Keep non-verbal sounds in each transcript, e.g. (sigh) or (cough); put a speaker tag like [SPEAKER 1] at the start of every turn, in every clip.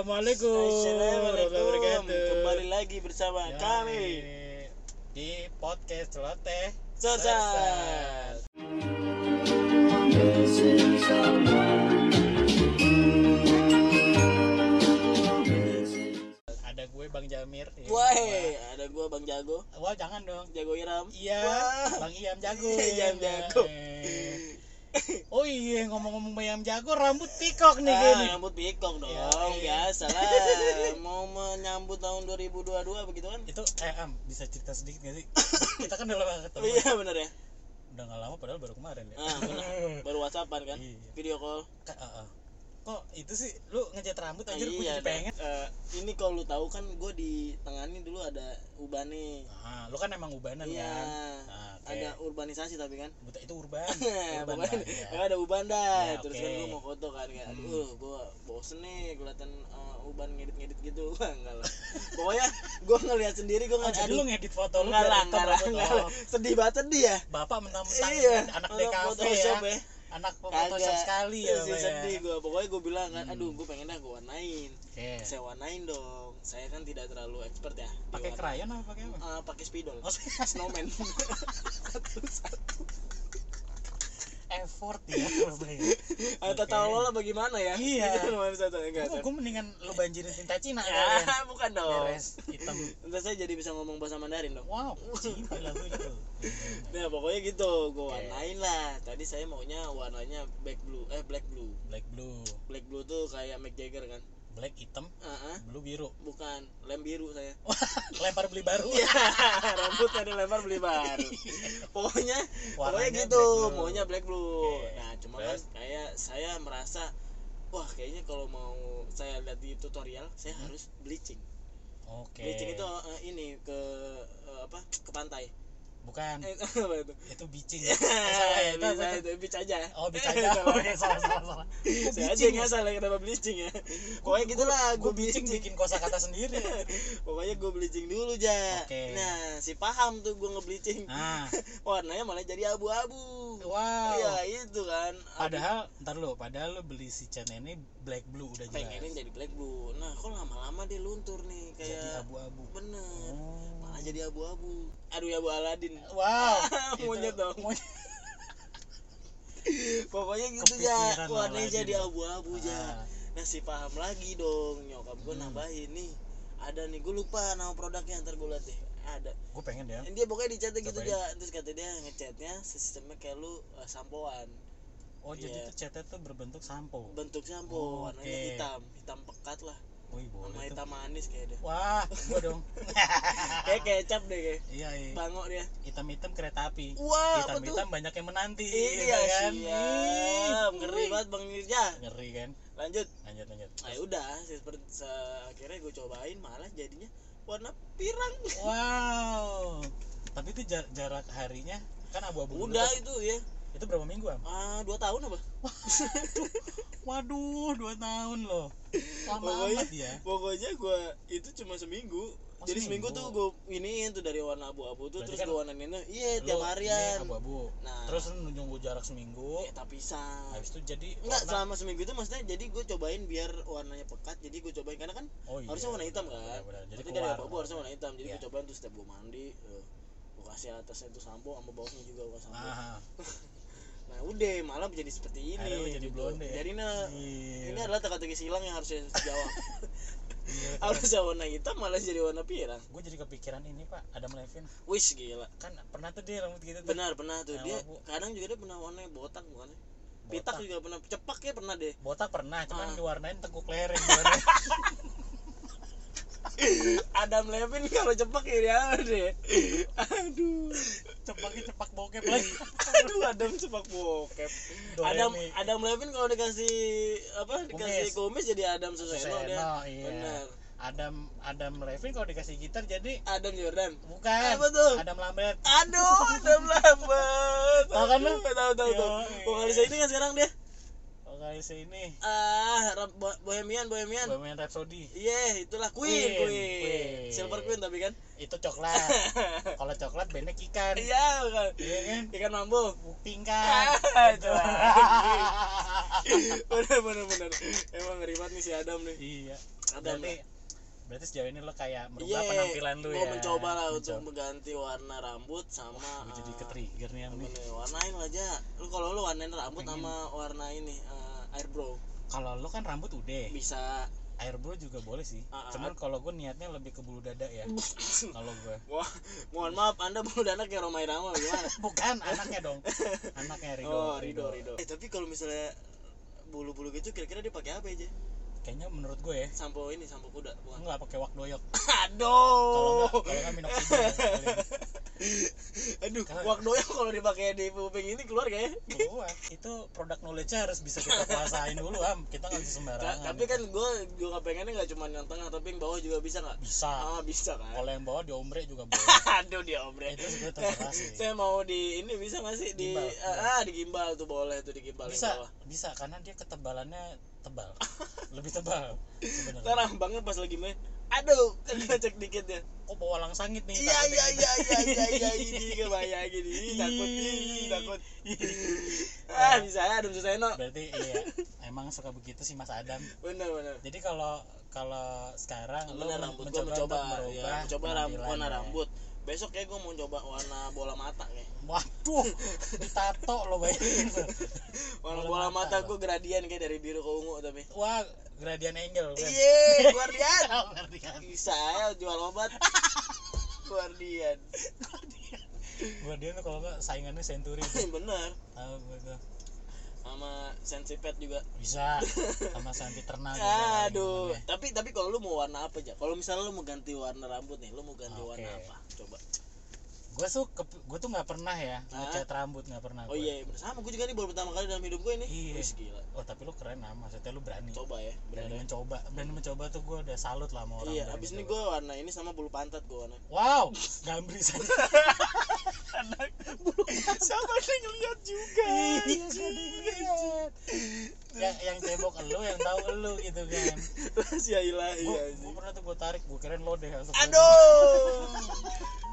[SPEAKER 1] Assalamualaikum warahmatullahi
[SPEAKER 2] Assalamualaikum.
[SPEAKER 1] wabarakatuh.
[SPEAKER 2] Kembali lagi bersama
[SPEAKER 1] Yoi.
[SPEAKER 2] kami.
[SPEAKER 1] di podcast Celoteh
[SPEAKER 2] Sosat.
[SPEAKER 1] Ada gue Bang Jamir. ya.
[SPEAKER 2] Wah, ada gua Bang Jago,
[SPEAKER 1] Wah, jangan dong.
[SPEAKER 2] Jago Iram.
[SPEAKER 1] Iya,
[SPEAKER 2] Wah.
[SPEAKER 1] Bang Iam Jago.
[SPEAKER 2] Iam Jago.
[SPEAKER 1] Eh. Oh iya, ngomong-ngomong Bang Iam Jago, rambut pikok nih
[SPEAKER 2] Ah,
[SPEAKER 1] gini.
[SPEAKER 2] rambut pikok dong,
[SPEAKER 1] Iya.
[SPEAKER 2] biasa lah. (laughs) Mau menyambut tahun 2022 begitu kan?
[SPEAKER 1] Itu eh Am, bisa cerita sedikit
[SPEAKER 2] (coughs)
[SPEAKER 1] gak sih? Kita kan udah lama ketemu.
[SPEAKER 2] Iya bener ya.
[SPEAKER 1] Udah gak lama padahal baru kemarin ya.
[SPEAKER 2] Ah, bener. Baru WhatsAppan kan?
[SPEAKER 1] Iya.
[SPEAKER 2] Video call.
[SPEAKER 1] Ka- ah, ah. Kok itu sih lu ngecat rambut aja gue jadi
[SPEAKER 2] Iya, dah.
[SPEAKER 1] pengen.
[SPEAKER 2] Eh, ini kalau lu tahu kan gue di tengah ini dulu ada ubane.
[SPEAKER 1] Nah, lu kan emang ubanan
[SPEAKER 2] Iya.
[SPEAKER 1] kan. Ah, oke.
[SPEAKER 2] Ada urbanisasi tapi kan.
[SPEAKER 1] Buta itu
[SPEAKER 2] (laughs)
[SPEAKER 1] urban.
[SPEAKER 2] Nah,
[SPEAKER 1] urban
[SPEAKER 2] pokoknya
[SPEAKER 1] lah, ya.
[SPEAKER 2] pokoknya ada uban dah
[SPEAKER 1] Ya,
[SPEAKER 2] terus
[SPEAKER 1] oke.
[SPEAKER 2] kan gue mau foto kan kayak
[SPEAKER 1] Hmm.
[SPEAKER 2] aduh gue bosen nih kelihatan eh, uban ngedit-ngedit gitu (laughs) Wah, enggak lah pokoknya gue ngeliat sendiri gue
[SPEAKER 1] Oh,
[SPEAKER 2] ngeliat
[SPEAKER 1] jadi lu
[SPEAKER 2] aduh
[SPEAKER 1] ngedit foto lu
[SPEAKER 2] enggak
[SPEAKER 1] biar
[SPEAKER 2] lah
[SPEAKER 1] rekam
[SPEAKER 2] enggak lah
[SPEAKER 1] rambut.
[SPEAKER 2] enggak
[SPEAKER 1] Oh,
[SPEAKER 2] lah sedih banget sedih ya
[SPEAKER 1] Bapak mentang-mentang
[SPEAKER 2] iya
[SPEAKER 1] anak
[SPEAKER 2] Kalau
[SPEAKER 1] DKV ya.
[SPEAKER 2] Photoshop ya
[SPEAKER 1] Anak Photoshop
[SPEAKER 2] kagak
[SPEAKER 1] sekali ya,
[SPEAKER 2] Terus
[SPEAKER 1] Pak, ya.
[SPEAKER 2] sedih gue pokoknya gue bilang kan
[SPEAKER 1] Hmm.
[SPEAKER 2] aduh gue pengen dah gue warnain
[SPEAKER 1] Oke.
[SPEAKER 2] saya warnain dong saya kan tidak terlalu expert ya di
[SPEAKER 1] Pakai
[SPEAKER 2] warna.
[SPEAKER 1] krayon apa pakai apa?
[SPEAKER 2] Eh, pakai spidol
[SPEAKER 1] Oh, (laughs)
[SPEAKER 2] snowman satu satu
[SPEAKER 1] effort ya Surabaya.
[SPEAKER 2] Ah,
[SPEAKER 1] Oke.
[SPEAKER 2] tata lola bagaimana ya
[SPEAKER 1] Iya.
[SPEAKER 2] (laughs) Itu lumayan satu enggak
[SPEAKER 1] Gue
[SPEAKER 2] kan?
[SPEAKER 1] gue mendingan lu banjirin tinta Cina kalian.
[SPEAKER 2] ya, bukan dong
[SPEAKER 1] Beres hitam.
[SPEAKER 2] Ntar saya jadi bisa ngomong bahasa Mandarin dong
[SPEAKER 1] Wow, Cina lagu itu.
[SPEAKER 2] Nah pokoknya gitu, gue
[SPEAKER 1] Oke.
[SPEAKER 2] warnain lah Tadi saya maunya warnanya black blue Eh black blue
[SPEAKER 1] Black blue,
[SPEAKER 2] Black blue tuh kayak Mick Jagger kan
[SPEAKER 1] black hitam,
[SPEAKER 2] Ah, ah.
[SPEAKER 1] blue biru.
[SPEAKER 2] Bukan, lem biru saya
[SPEAKER 1] Oh. Lempar beli baru.
[SPEAKER 2] Iya, (laughs) rambutnya dilempar
[SPEAKER 1] (laughs)
[SPEAKER 2] beli baru Pokoknya, pokoknya
[SPEAKER 1] Warnanya
[SPEAKER 2] gitu,
[SPEAKER 1] black blue.
[SPEAKER 2] maunya black blue
[SPEAKER 1] Oke.
[SPEAKER 2] Nah cuma kan
[SPEAKER 1] Terus?
[SPEAKER 2] kayak saya merasa Wah kayaknya kalau mau saya lihat di tutorial Saya harus bleaching
[SPEAKER 1] Hmm? Oke.
[SPEAKER 2] Bleaching itu eh, ini ke eh, apa ke pantai
[SPEAKER 1] bukan
[SPEAKER 2] Eh, (laughs) apa itu?
[SPEAKER 1] itu bicing.
[SPEAKER 2] Ya,
[SPEAKER 1] Oh, salah ya, itu
[SPEAKER 2] bisa
[SPEAKER 1] apa
[SPEAKER 2] itu beach aja.
[SPEAKER 1] Oh,
[SPEAKER 2] (laughs)
[SPEAKER 1] bicing. (laughs) Oh, iya, salah salah salah. Kok
[SPEAKER 2] Saya aja
[SPEAKER 1] bicing ya?
[SPEAKER 2] nggak salah kenapa bleaching
[SPEAKER 1] (laughs)
[SPEAKER 2] ya. Pokoknya gitu lah,
[SPEAKER 1] Gue
[SPEAKER 2] gue
[SPEAKER 1] bicing bikin kosakata
[SPEAKER 2] (laughs)
[SPEAKER 1] sendiri.
[SPEAKER 2] Pokoknya gue bleaching dulu ja.
[SPEAKER 1] Oke.
[SPEAKER 2] Nah, si paham tuh gue ngebleaching.
[SPEAKER 1] Nah,
[SPEAKER 2] Warnanya malah jadi abu-abu.
[SPEAKER 1] wow.
[SPEAKER 2] Iya, itu kan.
[SPEAKER 1] Padahal ntar lo, padahal lo beli si Chen ini black blue udah
[SPEAKER 2] Abis pengenin
[SPEAKER 1] jelas.
[SPEAKER 2] jadi black blue. Nah, kok lama-lama dia luntur nih
[SPEAKER 1] Jadi
[SPEAKER 2] kayak
[SPEAKER 1] abu-abu.
[SPEAKER 2] bener.
[SPEAKER 1] Oh.
[SPEAKER 2] Malah jadi abu-abu. Aduh ya Bu Aladin.
[SPEAKER 1] Wow. itu-
[SPEAKER 2] (laughs) Monyet dong.
[SPEAKER 1] monyet.
[SPEAKER 2] Pokoknya gitu
[SPEAKER 1] Kepikiran
[SPEAKER 2] ja.
[SPEAKER 1] Bu Aladin.
[SPEAKER 2] Warnanya
[SPEAKER 1] ya.
[SPEAKER 2] jadi abu-abu ja.
[SPEAKER 1] Ah,
[SPEAKER 2] Nah si paham lagi dong nyokap gue
[SPEAKER 1] Hmm.
[SPEAKER 2] nambahin nih ada nih gue lupa nama produknya ntar gue liat deh ada
[SPEAKER 1] gue pengen deh.
[SPEAKER 2] dia pokoknya dicatnya gitu
[SPEAKER 1] Cobain.
[SPEAKER 2] dia terus kata dia ngechatnya sistemnya kayak lu eh, sampoan
[SPEAKER 1] Oh jadi
[SPEAKER 2] Iya.
[SPEAKER 1] tuh catnya tuh berbentuk sampo.
[SPEAKER 2] bentuk sampo
[SPEAKER 1] Oh,
[SPEAKER 2] warnanya
[SPEAKER 1] oke. Oh,
[SPEAKER 2] hitam hitam pekat lah
[SPEAKER 1] Wih
[SPEAKER 2] sama
[SPEAKER 1] boleh tuh.
[SPEAKER 2] hitam manis kayak
[SPEAKER 1] (laughs)
[SPEAKER 2] deh (laughs)
[SPEAKER 1] Wah, gua dong.
[SPEAKER 2] kayak kecap deh kayak
[SPEAKER 1] Iya, iya.
[SPEAKER 2] bangok dia
[SPEAKER 1] Hitam-hitam kereta api.
[SPEAKER 2] wah apa tuh
[SPEAKER 1] Hitam-hitam banyak yang menanti.
[SPEAKER 2] iya
[SPEAKER 1] gitu
[SPEAKER 2] siap
[SPEAKER 1] Ih,
[SPEAKER 2] ngeri
[SPEAKER 1] wih.
[SPEAKER 2] banget bang Nirja
[SPEAKER 1] Ngeri kan?
[SPEAKER 2] lanjut
[SPEAKER 1] Lanjut lanjut.
[SPEAKER 2] nah udah seperti se- akhirnya gue cobain malah jadinya warna pirang
[SPEAKER 1] Wow. Tapi itu jar- jarak harinya kan abu-abu dulu
[SPEAKER 2] udah
[SPEAKER 1] tuh.
[SPEAKER 2] itu ya
[SPEAKER 1] Itu berapa minggu, Am?
[SPEAKER 2] ah dua tahun apa
[SPEAKER 1] Waduh, 2 tahun loh. Lama
[SPEAKER 2] Pokoknya-
[SPEAKER 1] amat ya.
[SPEAKER 2] pokoknya gue itu cuma seminggu
[SPEAKER 1] Oh,
[SPEAKER 2] jadi seminggu,
[SPEAKER 1] seminggu.
[SPEAKER 2] tuh gue iniin tuh dari warna abu-abu tuh
[SPEAKER 1] Berarti
[SPEAKER 2] terus
[SPEAKER 1] kan
[SPEAKER 2] gue warnain tuh iya
[SPEAKER 1] Lu
[SPEAKER 2] (laughs) tiap
[SPEAKER 1] ini
[SPEAKER 2] harian
[SPEAKER 1] abu-abu.
[SPEAKER 2] nah
[SPEAKER 1] Terus lu nunggu jarak seminggu,
[SPEAKER 2] ya tapi pisang
[SPEAKER 1] habis itu jadi
[SPEAKER 2] Enggak,
[SPEAKER 1] warna.
[SPEAKER 2] selama seminggu itu maksudnya jadi gue cobain biar warnanya pekat jadi gue cobain karena kan
[SPEAKER 1] Oh iya.
[SPEAKER 2] harusnya warna hitam kan
[SPEAKER 1] Benar, Jadi
[SPEAKER 2] jadi dari
[SPEAKER 1] keluar.
[SPEAKER 2] abu-abu harusnya warna hitam jadi
[SPEAKER 1] Iya.
[SPEAKER 2] gue cobain tuh setiap gue mandi gue kasih atasnya tuh sampo sama bawahnya juga gue sampo nah,
[SPEAKER 1] Ah,
[SPEAKER 2] udah malah jadi seperti ini
[SPEAKER 1] Akhirnya lu jadi blonde ya?
[SPEAKER 2] jadi nah
[SPEAKER 1] iya.
[SPEAKER 2] ini adalah teka-teki silang yang
[SPEAKER 1] (laughs)
[SPEAKER 2] harusnya dijawab
[SPEAKER 1] Iya.
[SPEAKER 2] harusnya warna hitam malah jadi warna pirang
[SPEAKER 1] Gue jadi kepikiran ini, Pak. Adam Levine
[SPEAKER 2] wish gila
[SPEAKER 1] kan pernah tuh dia rambut gitu tuh.
[SPEAKER 2] benar pernah tuh
[SPEAKER 1] Yang
[SPEAKER 2] dia
[SPEAKER 1] labu.
[SPEAKER 2] kadang juga dia pernah warnanya botak bukan ya?
[SPEAKER 1] Botak.
[SPEAKER 2] pitak juga pernah cepak ya pernah deh
[SPEAKER 1] botak pernah cuman
[SPEAKER 2] Ah.
[SPEAKER 1] diwarnain tengkuk lereng
[SPEAKER 2] (laughs) Adam Levin kalau cepak ya dia apa
[SPEAKER 1] (laughs)
[SPEAKER 2] deh aduh
[SPEAKER 1] cepaknya cepak bokep lagi
[SPEAKER 2] aduh Adam cepak bokep
[SPEAKER 1] Do, re,
[SPEAKER 2] Adam
[SPEAKER 1] mi.
[SPEAKER 2] Adam Levin kalau dikasih apa dikasih kumis jadi Adam Suseno dia
[SPEAKER 1] Suseno, iya.
[SPEAKER 2] benar
[SPEAKER 1] Adam Adam Levine kalau dikasih gitar jadi
[SPEAKER 2] Adam Jordan
[SPEAKER 1] bukan
[SPEAKER 2] Apa tuh?
[SPEAKER 1] Adam Lambert
[SPEAKER 2] aduh Adam Lambert
[SPEAKER 1] Tahu kan lu?
[SPEAKER 2] Aduh, tahu tahu tahu
[SPEAKER 1] Yoi.
[SPEAKER 2] Vokalis ini kan sekarang dia
[SPEAKER 1] Bukan Malaysia Oh, ini
[SPEAKER 2] ah Rap- Bo- bohemian bohemian
[SPEAKER 1] Bohemian Rhapsody
[SPEAKER 2] iya itulah queen,
[SPEAKER 1] Queen,
[SPEAKER 2] queen
[SPEAKER 1] Queen.
[SPEAKER 2] silver queen tapi kan (laughs)
[SPEAKER 1] itu coklat kalau coklat bandnya ikan
[SPEAKER 2] iya bukan
[SPEAKER 1] Iya kan?
[SPEAKER 2] ikan mambo (laughs)
[SPEAKER 1] kuping
[SPEAKER 2] Ah,
[SPEAKER 1] kan
[SPEAKER 2] itu bener bener bener emang ribet nih si Adam nih
[SPEAKER 1] (laughs) iya
[SPEAKER 2] Adam
[SPEAKER 1] berarti
[SPEAKER 2] lah.
[SPEAKER 1] berarti sejauh ini lo kayak merubah
[SPEAKER 2] Iya,
[SPEAKER 1] penampilan lo
[SPEAKER 2] gua
[SPEAKER 1] ya
[SPEAKER 2] mencoba lah untuk
[SPEAKER 1] Mencoba.
[SPEAKER 2] mengganti warna rambut sama
[SPEAKER 1] Gua jadi
[SPEAKER 2] eh,
[SPEAKER 1] ke trigger nih Am,
[SPEAKER 2] apa
[SPEAKER 1] nih
[SPEAKER 2] nih, warnain lah aja lu kalau lu warnain rambut
[SPEAKER 1] Pengen.
[SPEAKER 2] sama warna ini eh, airbrow
[SPEAKER 1] kalau lo kan rambut udah
[SPEAKER 2] bisa (laughs)
[SPEAKER 1] airbrow juga boleh sih
[SPEAKER 2] Ah, ah.
[SPEAKER 1] cuman kalau gue niatnya lebih ke bulu dada
[SPEAKER 2] (laughs)
[SPEAKER 1] ya kalau gue
[SPEAKER 2] Wah, mohon maaf Anda (laughs) bulu dana kayak Romai Rama gimana?
[SPEAKER 1] bukan anaknya dong anaknya Rido
[SPEAKER 2] oh, Rido, Rido. Eh, tapi kalau misalnya bulu-bulu gitu kira-kira dia pakai apa aja?
[SPEAKER 1] kayaknya menurut gue ya
[SPEAKER 2] Sampo ini, sampo kuda,
[SPEAKER 1] gue
[SPEAKER 2] bukan?
[SPEAKER 1] nggak pakai wak doyok kalau
[SPEAKER 2] (laughs)
[SPEAKER 1] nggak
[SPEAKER 2] Aduh.
[SPEAKER 1] kalau nggak minoxidil ya, paling.
[SPEAKER 2] Aduh,
[SPEAKER 1] Kalau-
[SPEAKER 2] wak doyong kalau dipakai di puping ini ya? keluar kayaknya. (laughs)
[SPEAKER 1] Gua, itu produk knowledge harus bisa kita kuasain dulu am kita nggak bisa
[SPEAKER 2] Nah,
[SPEAKER 1] sembarangan
[SPEAKER 2] tapi kan gue juga pengennya nggak cuma yang tengah tapi yang bawah juga bisa nggak?
[SPEAKER 1] bisa
[SPEAKER 2] Ah, bisa kan?
[SPEAKER 1] kalau yang bawah di ombre juga
[SPEAKER 2] (laughs)
[SPEAKER 1] boleh
[SPEAKER 2] Aduh dia ombre.
[SPEAKER 1] itu sebenarnya terserah sih
[SPEAKER 2] Saya mau di ini bisa nggak sih di
[SPEAKER 1] Gimbal.
[SPEAKER 2] ah di gimbal tuh boleh tuh di gimbal yang
[SPEAKER 1] bisa
[SPEAKER 2] bawah.
[SPEAKER 1] bisa karena dia ketebalannya
[SPEAKER 2] (laughs)
[SPEAKER 1] tebal lebih tebal
[SPEAKER 2] Ntar
[SPEAKER 1] sebenarnya
[SPEAKER 2] abangnya pas lagi main, aduh, kena cek dikit ya.
[SPEAKER 1] kok bawa lang sangit nih
[SPEAKER 2] Iya
[SPEAKER 1] takutnya
[SPEAKER 2] iya
[SPEAKER 1] gitu.
[SPEAKER 2] iya iya iya iya ini kebayangin ini takut ini takut. Ah bisa ya Adam Suseno.
[SPEAKER 1] berarti iya emang suka begitu sih Mas Adam
[SPEAKER 2] Bener bener.
[SPEAKER 1] jadi kalau kalau sekarang lo
[SPEAKER 2] Bener
[SPEAKER 1] men-
[SPEAKER 2] rambut gua
[SPEAKER 1] mencoba,
[SPEAKER 2] mencoba
[SPEAKER 1] untuk
[SPEAKER 2] ya,
[SPEAKER 1] merubah ya.
[SPEAKER 2] mencoba rambut warna
[SPEAKER 1] penampilannya.
[SPEAKER 2] rambut. Besok kayak gua mau coba warna bola mata ya. kayak.
[SPEAKER 1] waduh ditato lo bayangin lo.
[SPEAKER 2] Warna
[SPEAKER 1] Bola
[SPEAKER 2] bola
[SPEAKER 1] mata
[SPEAKER 2] mata gua gradien kayak dari biru ke ungu tapi.
[SPEAKER 1] wah gradient angle kan?
[SPEAKER 2] Iya, guardian.
[SPEAKER 1] Oh, gradient.
[SPEAKER 2] Bisa ya jual (laughs) obat. Guardian.
[SPEAKER 1] Guardian tuh kalau nggak saingannya Century tuh.
[SPEAKER 2] Bener.
[SPEAKER 1] Tahu gua tuh.
[SPEAKER 2] Sama sensipet juga.
[SPEAKER 1] bisa sama Santi Terna juga kali
[SPEAKER 2] Aduh,
[SPEAKER 1] temennya.
[SPEAKER 2] tapi tapi kalau lu mau warna apa aja? Kalau misalnya lu mau ganti warna rambut nih, lu mau ganti
[SPEAKER 1] Oke.
[SPEAKER 2] warna apa? Coba.
[SPEAKER 1] gue tuh kep- gua tuh nggak pernah ya
[SPEAKER 2] Hah?
[SPEAKER 1] ngecat rambut nggak pernah
[SPEAKER 2] Oh
[SPEAKER 1] gua.
[SPEAKER 2] iya, iya, bener. sama gue juga nih baru pertama kali dalam hidup gue ini.
[SPEAKER 1] ya? Iya.
[SPEAKER 2] Wih, gila.
[SPEAKER 1] oh tapi lu keren lah maksudnya lu berani
[SPEAKER 2] Coba ya,
[SPEAKER 1] berani
[SPEAKER 2] bener ya.
[SPEAKER 1] mencoba berani mencoba tuh gue udah salut lah sama orang
[SPEAKER 2] Iya,
[SPEAKER 1] berani
[SPEAKER 2] abis ini
[SPEAKER 1] mencoba.
[SPEAKER 2] gue warna ini sama bulu pantat gue
[SPEAKER 1] (laughs)
[SPEAKER 2] warna.
[SPEAKER 1] wow gambris aja
[SPEAKER 2] Siapa yang ngeliat juga?
[SPEAKER 1] Iya, gak ada yang lihat. yang yang cebok elu yang tahu elu gitu kan
[SPEAKER 2] si Aila
[SPEAKER 1] gue
[SPEAKER 2] iya sih.
[SPEAKER 1] pernah tuh gue tarik gue keren lo deh langsung.
[SPEAKER 2] Aduh.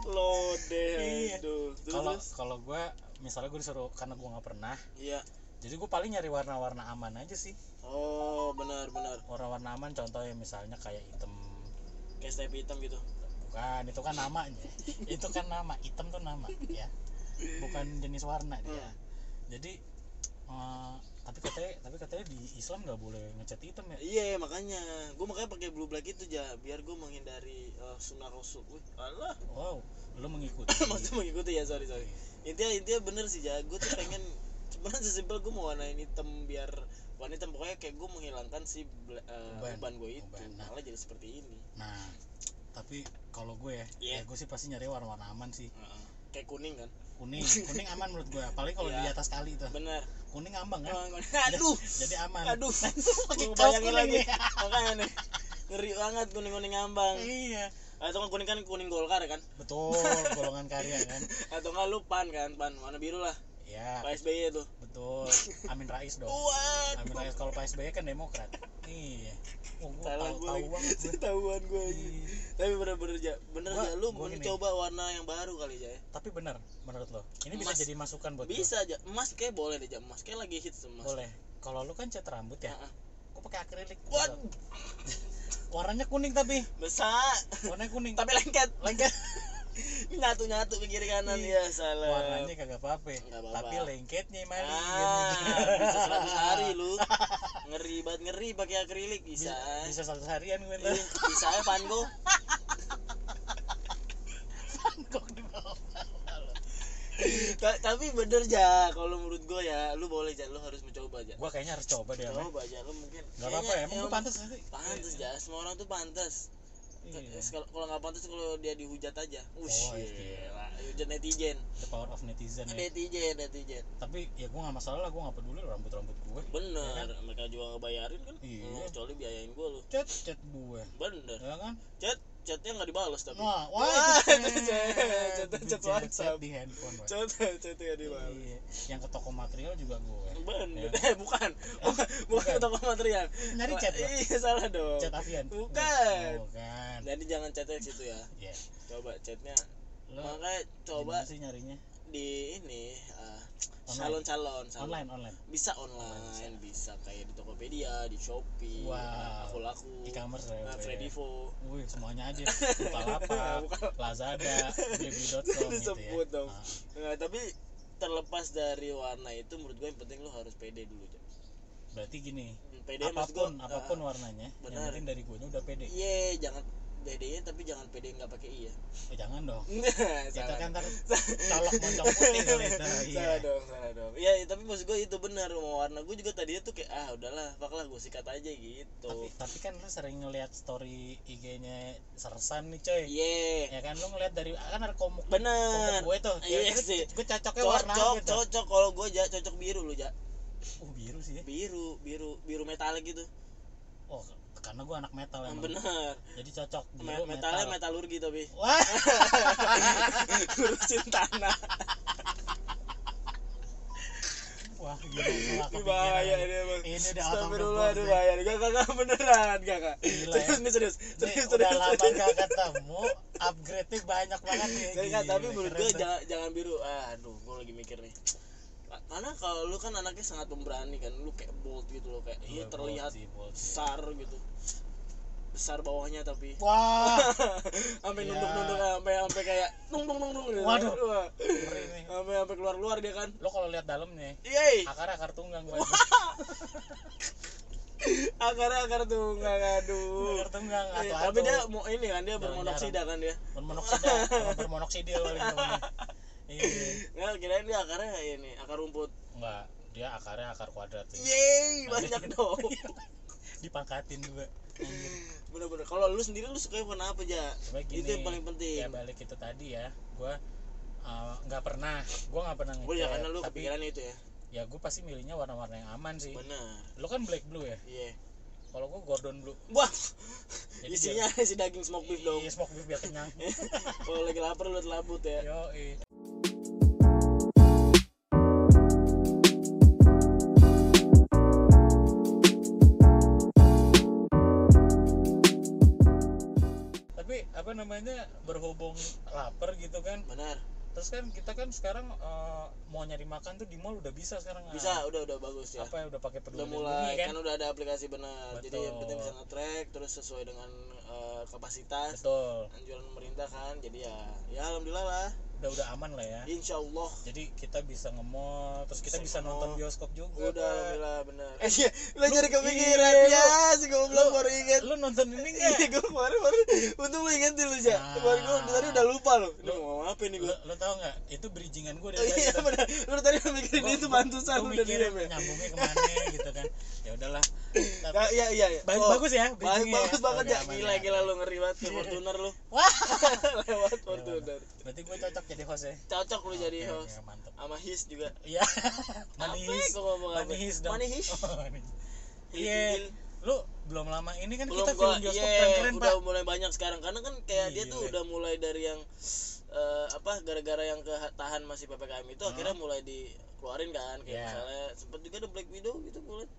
[SPEAKER 2] Lode.
[SPEAKER 1] Iya.
[SPEAKER 2] Aduh. Terus,
[SPEAKER 1] kalau
[SPEAKER 2] terus?
[SPEAKER 1] kalau gue misalnya gue disuruh karena gue nggak pernah
[SPEAKER 2] Iya.
[SPEAKER 1] jadi gue paling nyari warna-warna aman aja sih
[SPEAKER 2] Oh, benar benar.
[SPEAKER 1] warna-warna aman contohnya misalnya kayak hitam
[SPEAKER 2] Kayak step hitam gitu.
[SPEAKER 1] bukan itu kan namanya itu kan nama hitam tuh nama ya bukan jenis warna dia
[SPEAKER 2] Hmm.
[SPEAKER 1] jadi eh, tapi katanya tapi katanya di Islam nggak boleh ngecat hitam ya
[SPEAKER 2] Iya, makanya gue makanya pakai blue black itu aja biar gue menghindari eh, sunnah rasul. Wih, alah.
[SPEAKER 1] wow lu
[SPEAKER 2] (coughs)
[SPEAKER 1] mengikuti
[SPEAKER 2] (laughs) Maksudnya mengikuti ya, sorry sorry. intinya intinya bener sih ya gue
[SPEAKER 1] (laughs)
[SPEAKER 2] tuh pengen sebenarnya sesimpel gue mau warnain hitam biar warna hitam pokoknya kayak gue menghilangkan si bla- eh,
[SPEAKER 1] Uban.
[SPEAKER 2] uban gue itu
[SPEAKER 1] Uban, nah.
[SPEAKER 2] malah jadi seperti ini
[SPEAKER 1] nah tapi kalau gue ya,
[SPEAKER 2] Iya.
[SPEAKER 1] ya gue sih pasti nyari warna-warna aman sih
[SPEAKER 2] kayak kuning kan
[SPEAKER 1] kuning
[SPEAKER 2] (laughs)
[SPEAKER 1] kuning aman menurut gue apalagi kalau di
[SPEAKER 2] Iya.
[SPEAKER 1] atas kali tuh
[SPEAKER 2] bener
[SPEAKER 1] kuning ambang kan
[SPEAKER 2] Emang kuning. aduh
[SPEAKER 1] jadi aman
[SPEAKER 2] aduh
[SPEAKER 1] nah.
[SPEAKER 2] (laughs)
[SPEAKER 1] Pakai
[SPEAKER 2] Gua
[SPEAKER 1] kaos
[SPEAKER 2] bayangin
[SPEAKER 1] kuning
[SPEAKER 2] lagi
[SPEAKER 1] ya.
[SPEAKER 2] makanya nih ngeri banget kuning kuning
[SPEAKER 1] (laughs)
[SPEAKER 2] ambang
[SPEAKER 1] iya
[SPEAKER 2] atau kan kuning kan kuning golkar kan (laughs)
[SPEAKER 1] betul golongan karya kan
[SPEAKER 2] atau nggak lu pan kan pan warna biru lah
[SPEAKER 1] ya
[SPEAKER 2] pak sby itu
[SPEAKER 1] betul Amin Rais
[SPEAKER 2] Oh,
[SPEAKER 1] dong Amin
[SPEAKER 2] waduh
[SPEAKER 1] Rais kalau Pak SBY kan demokrat. Iya. Oh, gua
[SPEAKER 2] salah
[SPEAKER 1] tahu
[SPEAKER 2] gue
[SPEAKER 1] tahu banget.
[SPEAKER 2] (laughs) lagi tahuan gue
[SPEAKER 1] gua.
[SPEAKER 2] aja tapi bener-bener ja bener
[SPEAKER 1] Gua-
[SPEAKER 2] ja lu
[SPEAKER 1] gua
[SPEAKER 2] mending
[SPEAKER 1] gini.
[SPEAKER 2] coba warna yang baru kali ja ya
[SPEAKER 1] Tapi benar menurut lo. Ini bisa
[SPEAKER 2] Emas.
[SPEAKER 1] jadi masukan buat gua.
[SPEAKER 2] bisa aja emas kayak boleh deh jam emas kayak lagi hits emas
[SPEAKER 1] Boleh. Kalau lu kan cat rambut ya.
[SPEAKER 2] Ah, ah.
[SPEAKER 1] Gua pakai akrilik.
[SPEAKER 2] Waduh,
[SPEAKER 1] Warnanya kuning tapi.
[SPEAKER 2] besar
[SPEAKER 1] Warnanya kuning.
[SPEAKER 2] (laughs) tapi lengket
[SPEAKER 1] lengket.
[SPEAKER 2] Ini (laughs) nyatu-nyatu ke kiri kanan
[SPEAKER 1] Iya.
[SPEAKER 2] ya salah
[SPEAKER 1] Warnanya kagak apa-apa.
[SPEAKER 2] Nggak apa-apa.
[SPEAKER 1] Tapi lengketnya manis.
[SPEAKER 2] ah bisa 100
[SPEAKER 1] (laughs)
[SPEAKER 2] hari lu ngeri banget ngeri pakai akrilik bisa
[SPEAKER 1] Bisa, bisa satu harian gue
[SPEAKER 2] Ih,
[SPEAKER 1] ntar.
[SPEAKER 2] bisa ya Van Gogh
[SPEAKER 1] Kok di bawah.
[SPEAKER 2] Ta- tapi bener ja kalau menurut gue ya lu boleh ja lu harus mencoba ja
[SPEAKER 1] Gua kayaknya harus coba deh. Amel.
[SPEAKER 2] coba ja lu mungkin
[SPEAKER 1] Gak Iya, apa-apa
[SPEAKER 2] Kayaknya
[SPEAKER 1] ya, emang gua pantas nanti.
[SPEAKER 2] pantas ja semua orang tuh pantas
[SPEAKER 1] Iya.
[SPEAKER 2] Terus kalau kalau nggak pantas kalau dia dihujat aja ush
[SPEAKER 1] Oh, iya.
[SPEAKER 2] gila. hujat netizen
[SPEAKER 1] The power of netizen ya.
[SPEAKER 2] netizen netizen
[SPEAKER 1] Tapi ya gua nggak masalah lah, gua nggak peduli rambut-rambut gue. Ya
[SPEAKER 2] bener
[SPEAKER 1] kan?
[SPEAKER 2] mereka juga ngebayarin kan
[SPEAKER 1] Iya.
[SPEAKER 2] Lu kecuali biayain gue lu
[SPEAKER 1] Cet cet gue.
[SPEAKER 2] bener
[SPEAKER 1] Ya kan?
[SPEAKER 2] cet chatnya nggak dibalas tapi
[SPEAKER 1] Wah, wah,
[SPEAKER 2] Wah,
[SPEAKER 1] itu
[SPEAKER 2] itu chat. Chat-
[SPEAKER 1] Itu
[SPEAKER 2] chat WhatsApp.
[SPEAKER 1] di handphone. Wak.
[SPEAKER 2] chat (laughs) chatnya nggak dibalas
[SPEAKER 1] Iya. Yang ke toko material juga gue.
[SPEAKER 2] bener eh (laughs) bukan bukan, bukan
[SPEAKER 1] Bukan.
[SPEAKER 2] toko material
[SPEAKER 1] Nyari chat
[SPEAKER 2] Wah,
[SPEAKER 1] lo.
[SPEAKER 2] iya salah dong
[SPEAKER 1] Chat Avian. Oh, kan.
[SPEAKER 2] Bukan.
[SPEAKER 1] Bukan.
[SPEAKER 2] jadi jangan chatnya ke situ ya
[SPEAKER 1] Ya.
[SPEAKER 2] coba chatnya
[SPEAKER 1] Lo
[SPEAKER 2] makanya
[SPEAKER 1] coba
[SPEAKER 2] kan coba
[SPEAKER 1] sih nyarinya
[SPEAKER 2] di ini ah,
[SPEAKER 1] Online.
[SPEAKER 2] salon salon salon
[SPEAKER 1] online online
[SPEAKER 2] bisa online bisa kayak di Tokopedia di Shopee Nah,
[SPEAKER 1] Wow.
[SPEAKER 2] aku laku
[SPEAKER 1] e-commerce ya. Bre.
[SPEAKER 2] Fredivo
[SPEAKER 1] Wih, semuanya
[SPEAKER 2] (laughs)
[SPEAKER 1] aja. Bukalapak,
[SPEAKER 2] Bukan. (laughs)
[SPEAKER 1] Lazada, blibli.com gitu ya.
[SPEAKER 2] Disebut dong.
[SPEAKER 1] Ah,
[SPEAKER 2] Nah, tapi terlepas dari warna itu menurut gue yang penting lu harus pede dulu Jam.
[SPEAKER 1] berarti gini,
[SPEAKER 2] Hmm, pede maksud gua,
[SPEAKER 1] apapun apapun
[SPEAKER 2] ah,
[SPEAKER 1] warnanya, yang
[SPEAKER 2] benar.
[SPEAKER 1] penting dari gue udah pede.
[SPEAKER 2] iya jangan bedanya tapi jangan pede nggak pakai iya (laughs)
[SPEAKER 1] Eh, jangan dong. Kita
[SPEAKER 2] salah
[SPEAKER 1] kan ntar colok moncong putih kali itu. Iya.
[SPEAKER 2] (laughs) salah dong salah dong ya tapi maksud gue itu benar mau warna gue juga tadinya tuh kayak ah udahlah paklah gue sikat aja gitu
[SPEAKER 1] Tapi, tapi kan lu sering ngeliat story IG-nya Sersan nih coy.
[SPEAKER 2] iya
[SPEAKER 1] Ya kan lu ngeliat dari kan ada komuk komuk
[SPEAKER 2] bener
[SPEAKER 1] gue tuh. Ya,
[SPEAKER 2] Iya
[SPEAKER 1] gue-
[SPEAKER 2] sih.
[SPEAKER 1] Gue cocoknya warna
[SPEAKER 2] cocok
[SPEAKER 1] apa tuh?
[SPEAKER 2] cocok kalau gue ja, cocok biru lu ja
[SPEAKER 1] Oh, biru sih. ya.
[SPEAKER 2] biru biru biru metalik gitu
[SPEAKER 1] Oh, karena gue anak metal emang.
[SPEAKER 2] bener
[SPEAKER 1] Jadi cocok
[SPEAKER 2] Me-
[SPEAKER 1] biru
[SPEAKER 2] metalnya
[SPEAKER 1] metal.
[SPEAKER 2] metalurgi tapi (laughs)
[SPEAKER 1] Wah,
[SPEAKER 2] ngurusin tanah
[SPEAKER 1] wah gila gua
[SPEAKER 2] Ini
[SPEAKER 1] kepikiran.
[SPEAKER 2] bahaya ini bang
[SPEAKER 1] Ini udah out of the
[SPEAKER 2] Astagfirullah
[SPEAKER 1] box.
[SPEAKER 2] aduh
[SPEAKER 1] nih.
[SPEAKER 2] bahaya Gak gak gak beneran gak gak
[SPEAKER 1] Gila ya.
[SPEAKER 2] Serius nih serius
[SPEAKER 1] Nih,
[SPEAKER 2] Serius
[SPEAKER 1] udah
[SPEAKER 2] serius
[SPEAKER 1] lama
[SPEAKER 2] (laughs) serius.
[SPEAKER 1] gak ketemu, upgrade-nya banyak banget nih.
[SPEAKER 2] Tapi kan-
[SPEAKER 1] Gila,
[SPEAKER 2] tapi menurut
[SPEAKER 1] keren Iya,
[SPEAKER 2] gue
[SPEAKER 1] tuh.
[SPEAKER 2] jangan, jangan biru Aduh gue lagi mikir nih Karena kalau lu kan anaknya sangat pemberani kan Lu kayak bold gitu loh Kayak
[SPEAKER 1] Iya,
[SPEAKER 2] lu terlihat
[SPEAKER 1] bold sih, bold sih.
[SPEAKER 2] besar gitu Besar bawahnya tapi (laughs)
[SPEAKER 1] Wah,
[SPEAKER 2] Sampai
[SPEAKER 1] Iya.
[SPEAKER 2] nunduk-nunduk Sampai sampai kayak Nung nung nung nung gitu.
[SPEAKER 1] Waduh.
[SPEAKER 2] Wah.
[SPEAKER 1] ngeri nih.
[SPEAKER 2] Sampai sampai keluar-keluar dia kan
[SPEAKER 1] Lo kalau lihat dalamnya,
[SPEAKER 2] Yeay
[SPEAKER 1] akar akar tunggang gua.
[SPEAKER 2] akar-akar tuh nggak aduh
[SPEAKER 1] (laughs) Akar tunggang atau
[SPEAKER 2] Iya, tapi dia mau ini kan dia
[SPEAKER 1] Jarang-jarang.
[SPEAKER 2] bermonoksida kan dia
[SPEAKER 1] bermonoksida, orang bermonoksidil gitu. namanya. Iya.
[SPEAKER 2] nggak kirain dia akarnya kayak ini akar rumput
[SPEAKER 1] Enggak, dia akarnya akar kuadrat
[SPEAKER 2] Iya.
[SPEAKER 1] ya.
[SPEAKER 2] yeay (laughs) banyak dong
[SPEAKER 1] Dipangkatin juga. Anjir.
[SPEAKER 2] bener-bener kalau lu sendiri lu suka warna apa ja
[SPEAKER 1] Coba gini.
[SPEAKER 2] itu yang paling penting
[SPEAKER 1] Ya balik itu tadi ya, gua eh, nggak pernah, gua nggak pernah
[SPEAKER 2] oh
[SPEAKER 1] ngechat,
[SPEAKER 2] ya karena lu
[SPEAKER 1] tapi
[SPEAKER 2] kepikiran itu ya
[SPEAKER 1] ya gua pasti milihnya warna-warna yang aman sih.
[SPEAKER 2] bener
[SPEAKER 1] Lo kan black blue ya,
[SPEAKER 2] iya
[SPEAKER 1] kalau gua Gordon blue.
[SPEAKER 2] (laughs) wah
[SPEAKER 1] Jadi
[SPEAKER 2] isinya si daging smoke beef dong
[SPEAKER 1] Iya, smoke beef biar
[SPEAKER 2] (laughs)
[SPEAKER 1] kenyang.
[SPEAKER 2] kalau lagi lapar lu telabut ya
[SPEAKER 1] Yo, eh. Tapi apa namanya berhubung lapar gitu kan.
[SPEAKER 2] benar
[SPEAKER 1] Terus kan kita kan sekarang eh, mau nyari makan tuh di mall udah bisa sekarang.
[SPEAKER 2] bisa
[SPEAKER 1] Ah,
[SPEAKER 2] udah udah bagus ya
[SPEAKER 1] Apa ya udah pakai peduli
[SPEAKER 2] udah mulai
[SPEAKER 1] lindungi kan?
[SPEAKER 2] kan udah ada aplikasi benar jadi yang penting
[SPEAKER 1] Betul.
[SPEAKER 2] bisa nge-track terus sesuai dengan eh, kapasitas
[SPEAKER 1] Betul.
[SPEAKER 2] anjuran pemerintah kan jadi ya ya alhamdulillah lah
[SPEAKER 1] Udah udah aman lah ya.
[SPEAKER 2] insyaallah
[SPEAKER 1] Jadi kita bisa nge-mall, terus kita
[SPEAKER 2] Bisa
[SPEAKER 1] bisa
[SPEAKER 2] nge-mall.
[SPEAKER 1] nonton bioskop juga. Pak.
[SPEAKER 2] udah alhamdulillah benar eh iya lo
[SPEAKER 1] Lu-
[SPEAKER 2] jadi kepikiran
[SPEAKER 1] iya,
[SPEAKER 2] ya si goblok
[SPEAKER 1] lu-
[SPEAKER 2] baru ingat
[SPEAKER 1] Lu nonton ini enggak?
[SPEAKER 2] (laughs) iya gue kemarin baru untung lo ingetin lo
[SPEAKER 1] Ah.
[SPEAKER 2] ja kemarin gue tadi udah lupa lo
[SPEAKER 1] Lu-
[SPEAKER 2] lo Nah. mau ngomong apa nih
[SPEAKER 1] lo,
[SPEAKER 2] gue
[SPEAKER 1] lo tau nggak itu bridgingan gue dari tadi
[SPEAKER 2] iya
[SPEAKER 1] tuh.
[SPEAKER 2] benar lo tadi mikirin
[SPEAKER 1] Gua-
[SPEAKER 2] itu
[SPEAKER 1] gua-
[SPEAKER 2] mantusan
[SPEAKER 1] gua
[SPEAKER 2] udah
[SPEAKER 1] mikirin
[SPEAKER 2] diam ya
[SPEAKER 1] nyambungnya kemana gitu kan ya
[SPEAKER 2] (laughs)
[SPEAKER 1] udahlah
[SPEAKER 2] Ya, iya iya iya
[SPEAKER 1] bagus
[SPEAKER 2] Oh,
[SPEAKER 1] bagus ya
[SPEAKER 2] bagus
[SPEAKER 1] bridgingnya
[SPEAKER 2] bagus banget
[SPEAKER 1] Oke,
[SPEAKER 2] ya
[SPEAKER 1] aman
[SPEAKER 2] gila
[SPEAKER 1] ya.
[SPEAKER 2] gila lo ngeri banget ke Fortuner lo
[SPEAKER 1] wah
[SPEAKER 2] (laughs) lewat Fortuner
[SPEAKER 1] berarti gue cocok jadi host ya
[SPEAKER 2] cocok lo jadi
[SPEAKER 1] Oke, oke,
[SPEAKER 2] host
[SPEAKER 1] mantap
[SPEAKER 2] sama His juga
[SPEAKER 1] iya (laughs)
[SPEAKER 2] Apa
[SPEAKER 1] manis
[SPEAKER 2] gua ngomong apa?
[SPEAKER 1] manis dong
[SPEAKER 2] Manihis.
[SPEAKER 1] Oh, manis.
[SPEAKER 2] Hil-
[SPEAKER 1] iya
[SPEAKER 2] Hil.
[SPEAKER 1] lu belum lama ini kan
[SPEAKER 2] belum
[SPEAKER 1] kita
[SPEAKER 2] gua
[SPEAKER 1] film bioskop
[SPEAKER 2] iya,
[SPEAKER 1] keren-keren
[SPEAKER 2] udah
[SPEAKER 1] pak Iya,
[SPEAKER 2] mulai banyak sekarang karena kan kayak dia tuh
[SPEAKER 1] Gile.
[SPEAKER 2] udah mulai dari yang eh, apa gara-gara yang ketahan masih ppkm itu akhirnya mulai dikeluarin kan kayak
[SPEAKER 1] Iya.
[SPEAKER 2] misalnya sempet juga ada black widow gitu mulai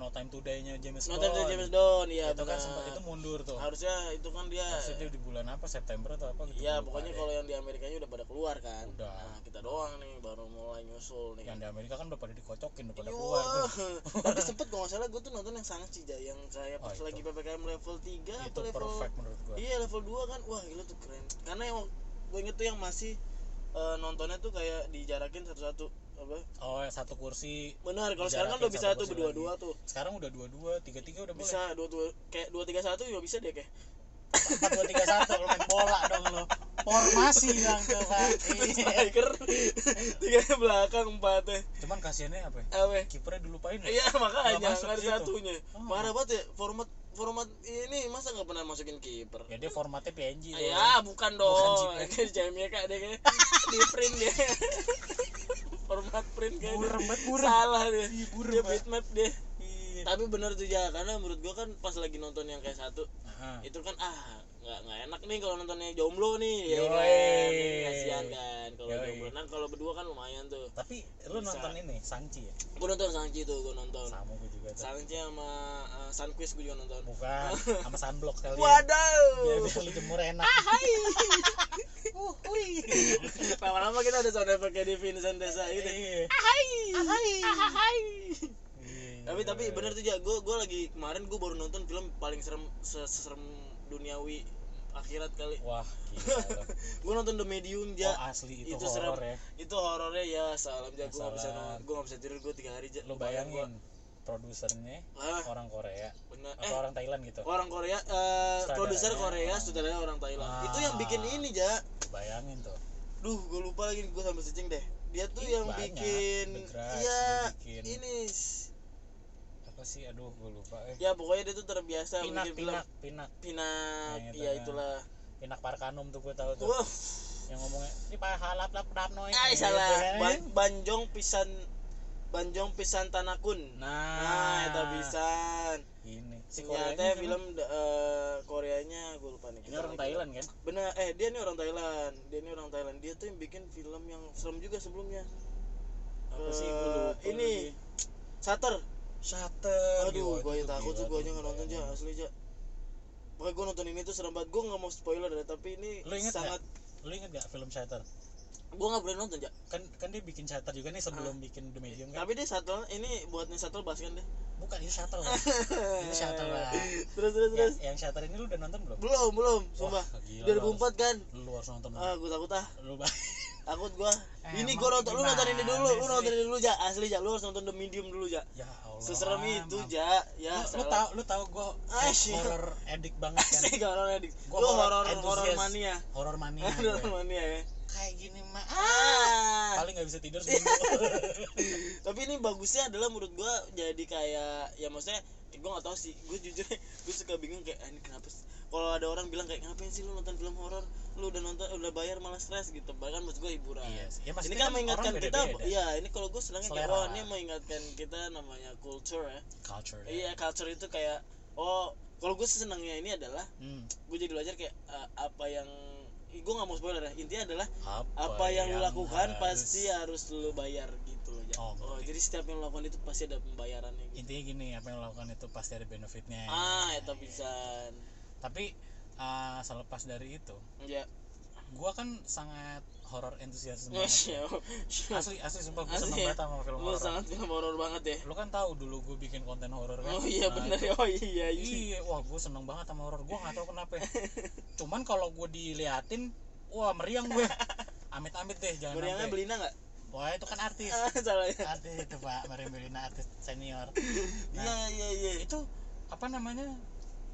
[SPEAKER 1] no time today nya James Bond
[SPEAKER 2] nonton The James Bond ya
[SPEAKER 1] itu kan
[SPEAKER 2] benar.
[SPEAKER 1] sempat itu mundur tuh
[SPEAKER 2] harusnya itu kan dia
[SPEAKER 1] maksudnya di bulan apa September atau apa gitu gua
[SPEAKER 2] ya
[SPEAKER 1] lupa
[SPEAKER 2] pokoknya
[SPEAKER 1] deh.
[SPEAKER 2] kalau yang di Amerikanya udah pada keluar kan
[SPEAKER 1] Udah.
[SPEAKER 2] nah kita doang nih baru mulai nyusul nih
[SPEAKER 1] yang di Amerika kan udah pada dikocokin udah pada
[SPEAKER 2] Iya.
[SPEAKER 1] keluar tuh
[SPEAKER 2] Tapi sempet kalau nggak salah gue tuh nonton yang sangat cija yang kayak
[SPEAKER 1] Oh,
[SPEAKER 2] pas
[SPEAKER 1] itu.
[SPEAKER 2] lagi ppkm level 3
[SPEAKER 1] itu
[SPEAKER 2] atau level
[SPEAKER 1] Gitu, perfect menurut gua
[SPEAKER 2] Iya level 2 kan, wah gila tuh keren. Karena yang gue inget tuh yang masih eh, nontonnya tuh kayak dijarakin satu-satu apa?
[SPEAKER 1] oh satu kursi
[SPEAKER 2] Benar, kalau sekarang kan udah bisa
[SPEAKER 1] Dijarakin
[SPEAKER 2] tuh
[SPEAKER 1] satu
[SPEAKER 2] berdua-dua tuh.
[SPEAKER 1] sekarang udah dua dua tiga tiga udah boleh
[SPEAKER 2] Bisa dua dua kayak dua tiga satu juga bisa deh kayak.
[SPEAKER 1] empat dua tiga satu lo main bola dong lo formasi bilang tuh pak Iya.
[SPEAKER 2] (laughs) Striker tiga belakang empat eh.
[SPEAKER 1] cuman kasiannya apa ya?
[SPEAKER 2] Apa? ya?
[SPEAKER 1] kipernya dilupain ya
[SPEAKER 2] Iya makanya
[SPEAKER 1] Nggak
[SPEAKER 2] nggak
[SPEAKER 1] masuk
[SPEAKER 2] ada
[SPEAKER 1] situ.
[SPEAKER 2] satunya.
[SPEAKER 1] Oh.
[SPEAKER 2] Parah banget ya format format ini masa nggak pernah masukin kiper.
[SPEAKER 1] ya dia formatnya PNG
[SPEAKER 2] Ah,
[SPEAKER 1] tuh.
[SPEAKER 2] Ya, bukan
[SPEAKER 1] Bukan
[SPEAKER 2] dong.
[SPEAKER 1] JPEG.
[SPEAKER 2] Kayak di JMYK deh
[SPEAKER 1] (laughs)
[SPEAKER 2] kayak di print dia. (laughs) Format print kayaknya.
[SPEAKER 1] burem banget burem
[SPEAKER 2] Salah dia.
[SPEAKER 1] Ih, burem
[SPEAKER 2] dia
[SPEAKER 1] Pak.
[SPEAKER 2] bitmap dia
[SPEAKER 1] iya anjir
[SPEAKER 2] tapi bener tuh ya karena menurut gua kan pas lagi nonton yang kayak satu
[SPEAKER 1] Heeh.
[SPEAKER 2] itu kan ah nggak nggak enak nih kalau nontonnya jomblo nih ya
[SPEAKER 1] Yoi.
[SPEAKER 2] kan Ini kasihan kan kalau
[SPEAKER 1] Yoi.
[SPEAKER 2] jomblo nah kalau berdua kan lumayan tuh
[SPEAKER 1] tapi lu
[SPEAKER 2] Bisa.
[SPEAKER 1] nonton ini Sangchi ya
[SPEAKER 2] gua nonton Sangchi tuh gua nonton
[SPEAKER 1] sama gue juga tuh
[SPEAKER 2] Sangchi sama uh, Sunquiz gua juga nonton
[SPEAKER 1] bukan sama sunblock kali ya biar
[SPEAKER 2] waduh
[SPEAKER 1] bisa lu jemur enak uh, hui.
[SPEAKER 2] lama-lama kita ada sound effect kayak di Vincent Desa gitu
[SPEAKER 1] Iya.
[SPEAKER 2] ahai
[SPEAKER 1] Ahai.
[SPEAKER 2] ahai
[SPEAKER 1] Iya.
[SPEAKER 2] tapi tapi bener tuh ya gue gue lagi kemarin gue baru nonton film paling serem se- serem duniawi akhirat kali
[SPEAKER 1] wah gila lu.
[SPEAKER 2] gue nonton The
[SPEAKER 1] Oh,
[SPEAKER 2] Medium ja
[SPEAKER 1] asli itu,
[SPEAKER 2] itu
[SPEAKER 1] horor ya
[SPEAKER 2] itu horornya ya salam ja gue nggak bisa
[SPEAKER 1] Salam.
[SPEAKER 2] gue nggak bisa tidur gue tiga hari ja
[SPEAKER 1] lu
[SPEAKER 2] Bayang gua.
[SPEAKER 1] bayangin produsernya
[SPEAKER 2] ah
[SPEAKER 1] orang Korea
[SPEAKER 2] bener
[SPEAKER 1] atau
[SPEAKER 2] eh
[SPEAKER 1] orang Thailand gitu
[SPEAKER 2] orang Korea eh
[SPEAKER 1] Sutradaranya
[SPEAKER 2] produser Korea
[SPEAKER 1] orang-
[SPEAKER 2] saudaranya orang Thailand
[SPEAKER 1] ya, Ah.
[SPEAKER 2] itu yang bikin ini ja
[SPEAKER 1] Lu bayangin tuh
[SPEAKER 2] duh gue lupa lagi gue sambil searching deh dia tuh
[SPEAKER 1] Ih,
[SPEAKER 2] yang
[SPEAKER 1] banyak.
[SPEAKER 2] bikin
[SPEAKER 1] The Grudge,
[SPEAKER 2] iya
[SPEAKER 1] dia bikin-
[SPEAKER 2] ini s-
[SPEAKER 1] apa sih aduh gue lupa eh
[SPEAKER 2] ya pokoknya dia tuh terbiasa
[SPEAKER 1] pinak
[SPEAKER 2] bikin film
[SPEAKER 1] pinak pinak
[SPEAKER 2] Pinak,
[SPEAKER 1] Yang itu
[SPEAKER 2] ya
[SPEAKER 1] kan.
[SPEAKER 2] itulah
[SPEAKER 1] pinak parkanum tuh gue tahu tuh
[SPEAKER 2] Wah,
[SPEAKER 1] yang ngomongnya ini paha lap lap dap noy
[SPEAKER 2] ay
[SPEAKER 1] Gitu
[SPEAKER 2] salah.
[SPEAKER 1] kan.
[SPEAKER 2] Ban- banjong pisan Banjong pisan tanakun. Nah,
[SPEAKER 1] nah,
[SPEAKER 2] eta pisan.
[SPEAKER 1] ini si Koreanya
[SPEAKER 2] Ternyata
[SPEAKER 1] kan?
[SPEAKER 2] ya film eh, Koreanya gue lupa nih.
[SPEAKER 1] ini orang Thailand kan
[SPEAKER 2] Benar, eh dia ini orang Thailand. Dia ini orang Thailand. Dia tuh yang bikin film yang serem juga sebelumnya.
[SPEAKER 1] apa
[SPEAKER 2] Eh,
[SPEAKER 1] sih gue lupa
[SPEAKER 2] ini. gitu,
[SPEAKER 1] lagi.
[SPEAKER 2] Shutter.
[SPEAKER 1] Shutter
[SPEAKER 2] Aduh,
[SPEAKER 1] Waduh,
[SPEAKER 2] gue
[SPEAKER 1] itu
[SPEAKER 2] takut tuh
[SPEAKER 1] gila
[SPEAKER 2] gue aja nggak nonton aja
[SPEAKER 1] bayangin.
[SPEAKER 2] asli aja. Pokoknya gue nonton ini tuh serem banget. Gue nggak mau spoiler ya, tapi ini
[SPEAKER 1] Lu inget
[SPEAKER 2] sangat
[SPEAKER 1] lu inget gak film Shutter
[SPEAKER 2] gue nggak boleh nonton ya.
[SPEAKER 1] kan kan dia bikin Shutter juga nih
[SPEAKER 2] Ah.
[SPEAKER 1] sebelum bikin The Medium kan
[SPEAKER 2] Tapi dia shuttle ini buatnya shuttle bas kan deh.
[SPEAKER 1] bukan itu Shutter lah
[SPEAKER 2] (laughs)
[SPEAKER 1] itu Shutter lah
[SPEAKER 2] terus terus
[SPEAKER 1] Ya,
[SPEAKER 2] terus
[SPEAKER 1] yang Shutter ini lu udah nonton belum
[SPEAKER 2] belum belum sumpah
[SPEAKER 1] Wah, gila, lu harus-
[SPEAKER 2] 2004 kan
[SPEAKER 1] lu harus nonton
[SPEAKER 2] ah gue takut ah
[SPEAKER 1] lu bah-
[SPEAKER 2] takut gua
[SPEAKER 1] Eh,
[SPEAKER 2] ini
[SPEAKER 1] Emang
[SPEAKER 2] gua nonton lu nonton ini
[SPEAKER 1] gimana
[SPEAKER 2] dulu lu
[SPEAKER 1] sih?
[SPEAKER 2] nonton ini dulu ja asli ja lu harus nonton The Medium dulu ja
[SPEAKER 1] (laughs) ya Allah
[SPEAKER 2] seserem itu
[SPEAKER 1] Mam.
[SPEAKER 2] ja ya
[SPEAKER 1] lu, lu
[SPEAKER 2] salah. (laughs)
[SPEAKER 1] tau kan? lu tau gue
[SPEAKER 2] Ah, shit.
[SPEAKER 1] horror edik banget kan
[SPEAKER 2] Asik, horor edik
[SPEAKER 1] Gua
[SPEAKER 2] lu
[SPEAKER 1] horor
[SPEAKER 2] horor horor
[SPEAKER 1] enthusiast.
[SPEAKER 2] mania
[SPEAKER 1] horror
[SPEAKER 2] (laughs)
[SPEAKER 1] mania
[SPEAKER 2] horor
[SPEAKER 1] gue.
[SPEAKER 2] mania ya
[SPEAKER 1] kayak gini mah
[SPEAKER 2] ah
[SPEAKER 1] paling nggak bisa tidur
[SPEAKER 2] (laughs)
[SPEAKER 1] seminggu
[SPEAKER 2] tapi ini bagusnya adalah menurut gua jadi kayak ya maksudnya eh, gua nggak tahu sih gua jujur (laughs) gua suka bingung kayak ah, ini kenapa sih kalau ada orang bilang kayak ngapain sih lu nonton film horor lu udah nonton udah bayar malah stres gitu bahkan maksud gua hiburan
[SPEAKER 1] Iya sih. Ya,
[SPEAKER 2] ini
[SPEAKER 1] maksudnya
[SPEAKER 2] kan
[SPEAKER 1] kan
[SPEAKER 2] mengingatkan
[SPEAKER 1] orang
[SPEAKER 2] kita
[SPEAKER 1] beda-beda.
[SPEAKER 2] ya ini kalau gue senangnya kayak
[SPEAKER 1] Selera.
[SPEAKER 2] wah ini mengingatkan kita namanya culture ya
[SPEAKER 1] culture ya.
[SPEAKER 2] iya culture itu kayak oh kalau gue senangnya ini adalah
[SPEAKER 1] Hmm.
[SPEAKER 2] gue jadi belajar kayak eh, apa yang gue nggak mau spoiler ya intinya adalah
[SPEAKER 1] apa,
[SPEAKER 2] apa yang lu
[SPEAKER 1] harus-
[SPEAKER 2] lakukan pasti ya. harus lu bayar gitu loh Ja.
[SPEAKER 1] Oh,
[SPEAKER 2] oh,
[SPEAKER 1] ngerti.
[SPEAKER 2] jadi setiap yang lu lakukan itu pasti ada pembayarannya gitu
[SPEAKER 1] intinya gini apa yang lu lakukan itu pasti ada benefitnya
[SPEAKER 2] ah itu bisa
[SPEAKER 1] tapi ah, selepas dari itu
[SPEAKER 2] ya
[SPEAKER 1] gua kan sangat horror entusias
[SPEAKER 2] (laughs) lu
[SPEAKER 1] banget ya. asli asli sumpah gua
[SPEAKER 2] Oh, iya. Asli
[SPEAKER 1] seneng
[SPEAKER 2] ya?
[SPEAKER 1] banget sama film horor
[SPEAKER 2] sangat film horor banget ya
[SPEAKER 1] lu kan tahu dulu gua bikin konten horor kan
[SPEAKER 2] oh iya
[SPEAKER 1] Nah,
[SPEAKER 2] benar ya oh iya iya
[SPEAKER 1] Iya, wah gue seneng banget sama horor. Gue gak tau kenapa.
[SPEAKER 2] (laughs)
[SPEAKER 1] ya. Cuman kalau gue diliatin, wah meriang
[SPEAKER 2] (laughs)
[SPEAKER 1] gue. Amit-amit deh, jangan
[SPEAKER 2] Meriangnya
[SPEAKER 1] sampai.
[SPEAKER 2] Belina nggak (laughs)
[SPEAKER 1] Wah itu kan artis.
[SPEAKER 2] Ah, salah ya
[SPEAKER 1] artis itu Pak, Meriam Belina artis
[SPEAKER 2] (laughs)
[SPEAKER 1] senior. Nah.
[SPEAKER 2] iya iya iya
[SPEAKER 1] Itu apa namanya?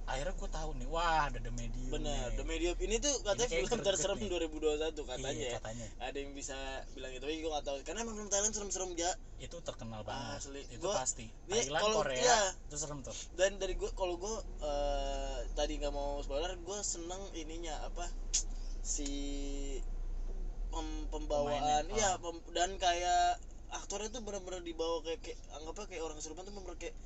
[SPEAKER 1] Akhirnya gue tahu nih, wah ada The Medium.
[SPEAKER 2] Bener,
[SPEAKER 1] nih.
[SPEAKER 2] The Medium ini tuh katanya
[SPEAKER 1] kayak
[SPEAKER 2] film
[SPEAKER 1] greget
[SPEAKER 2] terserem
[SPEAKER 1] nih.
[SPEAKER 2] 2021 katanya
[SPEAKER 1] Iya,
[SPEAKER 2] ya.
[SPEAKER 1] katanya.
[SPEAKER 2] Ada yang bisa bilang gitu, itu, tapi gue gak tahu. Karena emang film Thailand serem-serem ya.
[SPEAKER 1] Itu terkenal banget.
[SPEAKER 2] Asli.
[SPEAKER 1] Itu
[SPEAKER 2] Gua-
[SPEAKER 1] pasti.
[SPEAKER 2] Dia
[SPEAKER 1] Thailand,
[SPEAKER 2] kalau
[SPEAKER 1] Korea,
[SPEAKER 2] iya.
[SPEAKER 1] itu serem tuh.
[SPEAKER 2] Dan dari gue, kalau gue eh, tadi nggak mau spoiler, gue seneng ininya apa si pem- pembawaan,
[SPEAKER 1] Pemainnya, oh.
[SPEAKER 2] iya pem- dan kayak aktornya tuh bener-bener dibawa kayak, kayak anggapnya kayak orang kesurupan tuh bener kayak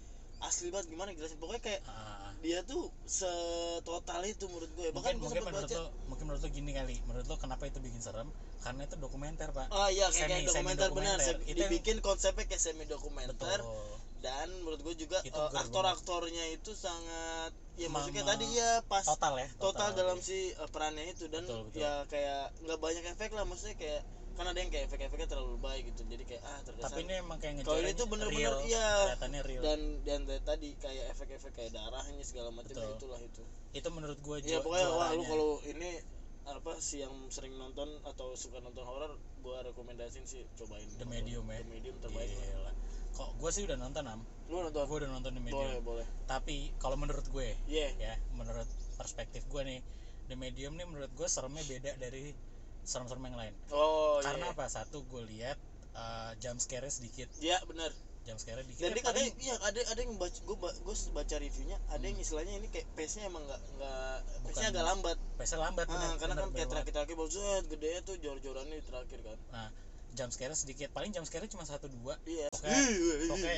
[SPEAKER 2] asli banget gimana jelasin pokoknya kayak
[SPEAKER 1] Ah,
[SPEAKER 2] dia tuh setotal itu menurut gue bahkan
[SPEAKER 1] mungkin
[SPEAKER 2] gue
[SPEAKER 1] mungkin
[SPEAKER 2] sempet
[SPEAKER 1] menurut
[SPEAKER 2] baca
[SPEAKER 1] lo mungkin menurut lo gini kali menurut lo kenapa itu bikin serem karena itu dokumenter pak
[SPEAKER 2] Oh iya kayak,
[SPEAKER 1] Semi-
[SPEAKER 2] kayak dokumenter benar
[SPEAKER 1] semi-dokumenter.
[SPEAKER 2] Se-
[SPEAKER 1] Itu yang-
[SPEAKER 2] dibikin konsepnya kayak semi dokumenter
[SPEAKER 1] betul
[SPEAKER 2] dan menurut gue juga
[SPEAKER 1] Itu
[SPEAKER 2] eh,
[SPEAKER 1] ger
[SPEAKER 2] aktor-aktornya itu sangat ya
[SPEAKER 1] Mama-
[SPEAKER 2] maksudnya tadi ya pas total,
[SPEAKER 1] total ya
[SPEAKER 2] dalam si eh, perannya itu dan
[SPEAKER 1] Betul, betul.
[SPEAKER 2] ya kayak nggak banyak efek lah maksudnya kayak kan ada yang kayak efek-efeknya terlalu baik gitu jadi kayak ah terkesan
[SPEAKER 1] tapi ini emang kayak
[SPEAKER 2] Kalau
[SPEAKER 1] ngejar
[SPEAKER 2] ini tuh bener-bener
[SPEAKER 1] real,
[SPEAKER 2] iya.
[SPEAKER 1] kelihatannya real
[SPEAKER 2] dan dan dari tadi kayak efek-efek kayak darahnya segala macam
[SPEAKER 1] Betul.
[SPEAKER 2] itulah itu
[SPEAKER 1] itu menurut gue
[SPEAKER 2] ya pokoknya wah lu kalau ini apa sih yang sering nonton atau suka nonton horor gua rekomendasiin sih cobain
[SPEAKER 1] The Medium ya.
[SPEAKER 2] The Medium terbaik lah.
[SPEAKER 1] kok gue sih udah nonton am
[SPEAKER 2] lu nonton
[SPEAKER 1] gue udah nonton The Medium
[SPEAKER 2] boleh boleh
[SPEAKER 1] tapi kalau menurut gue
[SPEAKER 2] iya
[SPEAKER 1] ya menurut perspektif gue nih The Medium nih menurut gue seremnya beda dari serem-serem yang lain
[SPEAKER 2] oh
[SPEAKER 1] karena
[SPEAKER 2] iya
[SPEAKER 1] apa satu gue lihat eh, jump scare sedikit
[SPEAKER 2] Iya benar.
[SPEAKER 1] jump scare dikit ya
[SPEAKER 2] Dan dia katanya
[SPEAKER 1] paling-
[SPEAKER 2] iya ada ada yang baca gue gue baca reviewnya ada
[SPEAKER 1] Hmm.
[SPEAKER 2] yang istilahnya ini kayak pace-nya emang nggak nggak pace-nya agak lambat.
[SPEAKER 1] pace lambat
[SPEAKER 2] Ah,
[SPEAKER 1] bener,
[SPEAKER 2] karena
[SPEAKER 1] bener,
[SPEAKER 2] kan kayak
[SPEAKER 1] bener
[SPEAKER 2] terakhir terakhir baru zet gede tuh jor-jorannya di terakhir kan.
[SPEAKER 1] Nah, jump scare sedikit paling jump scare cuma satu dua
[SPEAKER 2] Iya.
[SPEAKER 1] Oke.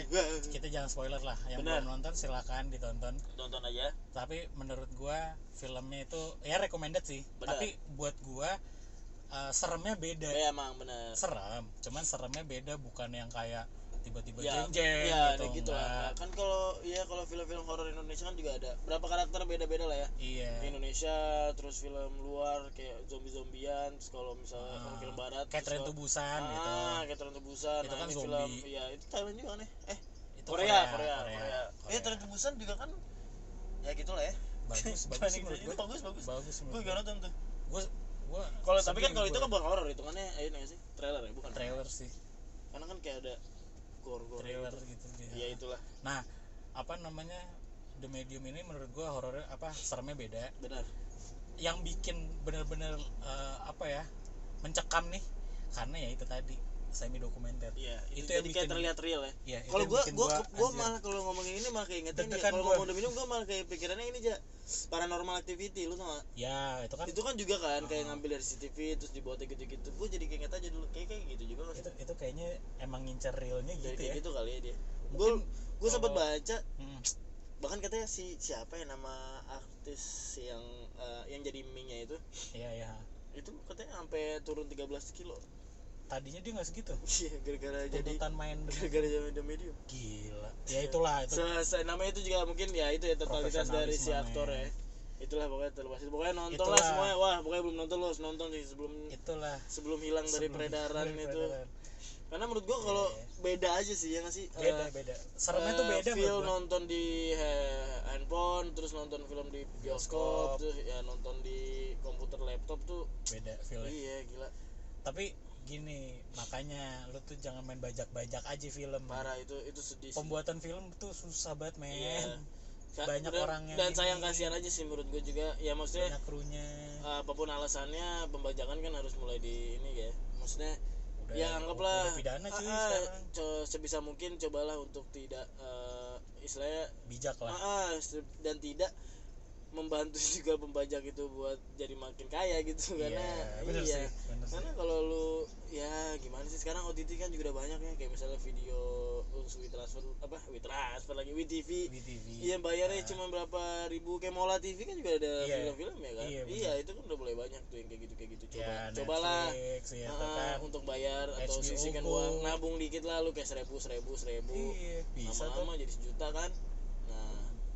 [SPEAKER 1] kita jangan spoiler lah yang
[SPEAKER 2] Benar.
[SPEAKER 1] belum nonton silahkan ditonton
[SPEAKER 2] Tonton aja.
[SPEAKER 1] tapi menurut gua filmnya itu ya recommended sih
[SPEAKER 2] Benar.
[SPEAKER 1] tapi buat gua eh, seremnya beda
[SPEAKER 2] Ya emang bener.
[SPEAKER 1] serem cuman seremnya beda bukan yang kayak tiba-tiba
[SPEAKER 2] Ya,
[SPEAKER 1] jeng-jeng gitu,
[SPEAKER 2] ya gitu, gitu
[SPEAKER 1] enggak.
[SPEAKER 2] lah. Kan kalau ya kalau film-film horor Indonesia kan juga ada berapa karakter beda-beda lah ya.
[SPEAKER 1] iya
[SPEAKER 2] Indonesia, terus film luar kayak zombie-zombian, terus kalau misalnya kalau
[SPEAKER 1] Ah,
[SPEAKER 2] film barat
[SPEAKER 1] kayak tren
[SPEAKER 2] terus kalau-
[SPEAKER 1] tubusan gitu
[SPEAKER 2] Ah, kayak Tren Tebusan.
[SPEAKER 1] Itu
[SPEAKER 2] Nah,
[SPEAKER 1] kan
[SPEAKER 2] ini
[SPEAKER 1] zombie.
[SPEAKER 2] film ya itu Thailand juga kan ya? Eh,
[SPEAKER 1] itu
[SPEAKER 2] Korea, Korea, Korea.
[SPEAKER 1] Korea. Hmm.
[SPEAKER 2] Eh, Tren Tebusan juga kan ya gitulah ya.
[SPEAKER 1] bagus
[SPEAKER 2] (laughs)
[SPEAKER 1] bagus sih
[SPEAKER 2] Banding-
[SPEAKER 1] menurut
[SPEAKER 2] itu
[SPEAKER 1] gua
[SPEAKER 2] bagus bagus.
[SPEAKER 1] bagus
[SPEAKER 2] Gue
[SPEAKER 1] menurut
[SPEAKER 2] juga
[SPEAKER 1] gua
[SPEAKER 2] nonton tuh.
[SPEAKER 1] gua gua
[SPEAKER 2] Kalau tapi
[SPEAKER 1] sedih
[SPEAKER 2] kan kalau itu
[SPEAKER 1] gua.
[SPEAKER 2] kan bukan horor hitungannya eh nggak sih? Trailer ya, bukan.
[SPEAKER 1] trailer sih
[SPEAKER 2] Karena kan kayak ada gore-gore.
[SPEAKER 1] trailer
[SPEAKER 2] gitu.
[SPEAKER 1] gitu dia.
[SPEAKER 2] Ya itulah,
[SPEAKER 1] nah apa namanya The Medium ini menurut gua horornya apa seremnya beda
[SPEAKER 2] benar.
[SPEAKER 1] yang bikin bener-bener eh, apa ya mencekam nih karena ya itu tadi semi dokumenter
[SPEAKER 2] Iya, itu,
[SPEAKER 1] Itu yang
[SPEAKER 2] jadi kayak
[SPEAKER 1] bikin-
[SPEAKER 2] terlihat real ya.
[SPEAKER 1] ya itu
[SPEAKER 2] Kalau
[SPEAKER 1] yang
[SPEAKER 2] gua
[SPEAKER 1] bikin
[SPEAKER 2] gua gua
[SPEAKER 1] anjir.
[SPEAKER 2] malah kalau ngomongin ini malah keingetin ya.
[SPEAKER 1] Deg-degan
[SPEAKER 2] Kalau
[SPEAKER 1] gua.
[SPEAKER 2] ngomong domino gua malah kayak pikirannya ini aja paranormal activity lu tau gak?
[SPEAKER 1] ya itu kan
[SPEAKER 2] itu kan juga kan kayak
[SPEAKER 1] Ah.
[SPEAKER 2] ngambil dari CCTV terus dibawa gitu-gitu gue jadi keinget aja dulu kayak kayak gitu juga nggak
[SPEAKER 1] itu,
[SPEAKER 2] sih
[SPEAKER 1] itu kayaknya emang ngincer realnya
[SPEAKER 2] Jadi
[SPEAKER 1] gitu
[SPEAKER 2] kayak
[SPEAKER 1] ya
[SPEAKER 2] gitu kali ya dia gue
[SPEAKER 1] Mungkin-
[SPEAKER 2] gue sempat
[SPEAKER 1] kalau-
[SPEAKER 2] baca
[SPEAKER 1] Hmm.
[SPEAKER 2] bahkan katanya si siapa ya nama artis yang eh, yang jadi mie-nya itu
[SPEAKER 1] Iya ya.
[SPEAKER 2] itu katanya sampai turun 13 kilo (laughs)
[SPEAKER 1] Tadinya dia nggak segitu.
[SPEAKER 2] iya gara-gara jadi
[SPEAKER 1] Tuntutan main demi-
[SPEAKER 2] (laughs) gara-gara jadi the medium
[SPEAKER 1] gila. Ya itulah itu.
[SPEAKER 2] Se- se- namanya itu juga mungkin ya itu ya totalitas dari si
[SPEAKER 1] Profesionalisme,
[SPEAKER 2] aktor ya
[SPEAKER 1] men.
[SPEAKER 2] itulah pokoknya terlepas itu pokoknya nonton lah
[SPEAKER 1] Itulah.
[SPEAKER 2] semuanya wah pokoknya belum nonton lo harus nonton sih sebelum
[SPEAKER 1] Itulah
[SPEAKER 2] sebelum hilang dari
[SPEAKER 1] sebelum-
[SPEAKER 2] peredaran
[SPEAKER 1] dari
[SPEAKER 2] itu
[SPEAKER 1] peredaran.
[SPEAKER 2] karena menurut gua kalau
[SPEAKER 1] Iya.
[SPEAKER 2] beda aja sih ya nggak sih
[SPEAKER 1] Beda
[SPEAKER 2] Eh,
[SPEAKER 1] beda. Seremnya
[SPEAKER 2] eh,
[SPEAKER 1] tuh beda
[SPEAKER 2] feel
[SPEAKER 1] menurut gua.
[SPEAKER 2] nonton di eh, handphone terus nonton film di
[SPEAKER 1] Bioskop.
[SPEAKER 2] bioskop terus ya nonton di komputer laptop tuh
[SPEAKER 1] Beda feelnya.
[SPEAKER 2] iya gila
[SPEAKER 1] Tapi gini, makanya lu tuh jangan main bajak-bajak aja film.
[SPEAKER 2] parah itu itu sedih sih.
[SPEAKER 1] Pembuatan film tuh susah banget, men.
[SPEAKER 2] Iya. Sa-
[SPEAKER 1] banyak
[SPEAKER 2] dan-
[SPEAKER 1] orang yang
[SPEAKER 2] dan
[SPEAKER 1] ini.
[SPEAKER 2] sayang kasihan aja sih menurut gua juga ya maksudnya
[SPEAKER 1] Banyak krunya.
[SPEAKER 2] apapun alasannya pembajakan kan harus mulai di ini ya maksudnya
[SPEAKER 1] Udah,
[SPEAKER 2] ya anggaplah
[SPEAKER 1] udah pidana cuy
[SPEAKER 2] ah, ah,
[SPEAKER 1] sekarang.
[SPEAKER 2] co- sebisa mungkin cobalah untuk tidak eh, istilahnya
[SPEAKER 1] Bijak lah.
[SPEAKER 2] Ah, se- dan tidak membantu (laughs) juga pembajak itu buat jadi makin kaya gitu
[SPEAKER 1] Iya,
[SPEAKER 2] karena
[SPEAKER 1] bener sih,
[SPEAKER 2] iya
[SPEAKER 1] bener sih.
[SPEAKER 2] karena kalau lu ya gimana sih sekarang OTT kan juga udah banyak ya kayak misalnya video terus WeTransfer apa WeTransfer lagi WeTV
[SPEAKER 1] WeTV.
[SPEAKER 2] iya bayarnya
[SPEAKER 1] Ah.
[SPEAKER 2] cuma berapa ribu kayak Mola TV kan juga ada
[SPEAKER 1] Iya.
[SPEAKER 2] film-film ya kan
[SPEAKER 1] Iya, bener.
[SPEAKER 2] iya itu kan udah mulai banyak tuh yang kayak gitu kayak gitu coba
[SPEAKER 1] Ya,
[SPEAKER 2] cobalah
[SPEAKER 1] Netflix, ya, itu
[SPEAKER 2] ah,
[SPEAKER 1] kan.
[SPEAKER 2] untuk bayar atau
[SPEAKER 1] HBO
[SPEAKER 2] sisihkan
[SPEAKER 1] Go.
[SPEAKER 2] uang nabung dikit lah lu kayak seribu seribu seribu
[SPEAKER 1] Iya, bisa tuh.
[SPEAKER 2] lama-lama jadi sejuta kan nah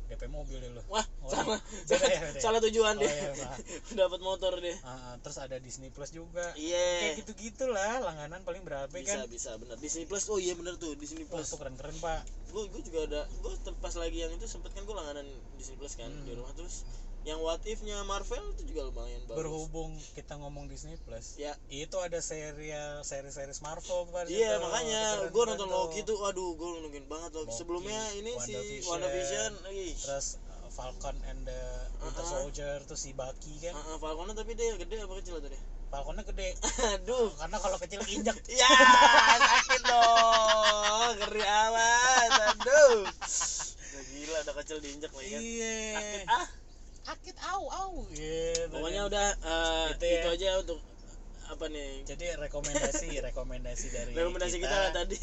[SPEAKER 1] DP mobil deh lo.
[SPEAKER 2] Wah,
[SPEAKER 1] Oh,
[SPEAKER 2] salah.
[SPEAKER 1] beda ya, beda ya.
[SPEAKER 2] salah
[SPEAKER 1] Oh,
[SPEAKER 2] tujuan dia.
[SPEAKER 1] iya, maaf.
[SPEAKER 2] (laughs) Dapat motor dia.
[SPEAKER 1] Ah, ah, terus ada Disney Plus juga. Kayak
[SPEAKER 2] Iya.
[SPEAKER 1] gitu-gitu lah, langganan paling berapa
[SPEAKER 2] Bisa
[SPEAKER 1] kan? Oh,
[SPEAKER 2] bisa benar. Disney Plus. Oh iya benar tuh Disney
[SPEAKER 1] Wah,
[SPEAKER 2] Plus.
[SPEAKER 1] itu keren-keren, Pak.
[SPEAKER 2] Gue gue juga ada gue pas lagi yang itu sempet kan gue langganan Disney Plus kan
[SPEAKER 1] Hmm.
[SPEAKER 2] di rumah terus yang What If-nya Marvel itu juga lumayan bagus.
[SPEAKER 1] Berhubung kita ngomong Disney Plus,
[SPEAKER 2] Ya.
[SPEAKER 1] itu ada serial seri-seri Marvel Pak, di
[SPEAKER 2] Iya
[SPEAKER 1] situ.
[SPEAKER 2] makanya
[SPEAKER 1] Keren-keren
[SPEAKER 2] gue nonton
[SPEAKER 1] tuh.
[SPEAKER 2] Loki tuh, aduh gue nungguin banget Loki.
[SPEAKER 1] Loki,
[SPEAKER 2] Sebelumnya ini si
[SPEAKER 1] WandaVision.
[SPEAKER 2] WandaVision, ih,
[SPEAKER 1] Terus uh, Falcon and the Winter
[SPEAKER 2] Ah, ah.
[SPEAKER 1] Soldier, terus si Bucky kan.
[SPEAKER 2] Ah, ah, Falconnya tapi dia gede apa kecil tadi? (laughs)
[SPEAKER 1] Falconnya gede.
[SPEAKER 2] aduh,
[SPEAKER 1] Karena kalau kecil injek
[SPEAKER 2] Ya, sakit dong. Ngeri amat. Aduh. Udah gila, udah kecil diinjak lagi kan. Sakit
[SPEAKER 1] Iya.
[SPEAKER 2] ah.
[SPEAKER 1] Akit au au. Gitu.
[SPEAKER 2] Pokoknya udah eh,
[SPEAKER 1] Gitu
[SPEAKER 2] itu,
[SPEAKER 1] ya.
[SPEAKER 2] aja untuk apa nih?
[SPEAKER 1] Jadi
[SPEAKER 2] (laughs)
[SPEAKER 1] rekomendasi rekomendasi dari
[SPEAKER 2] Rekomendasi kita, lah (laughs) tadi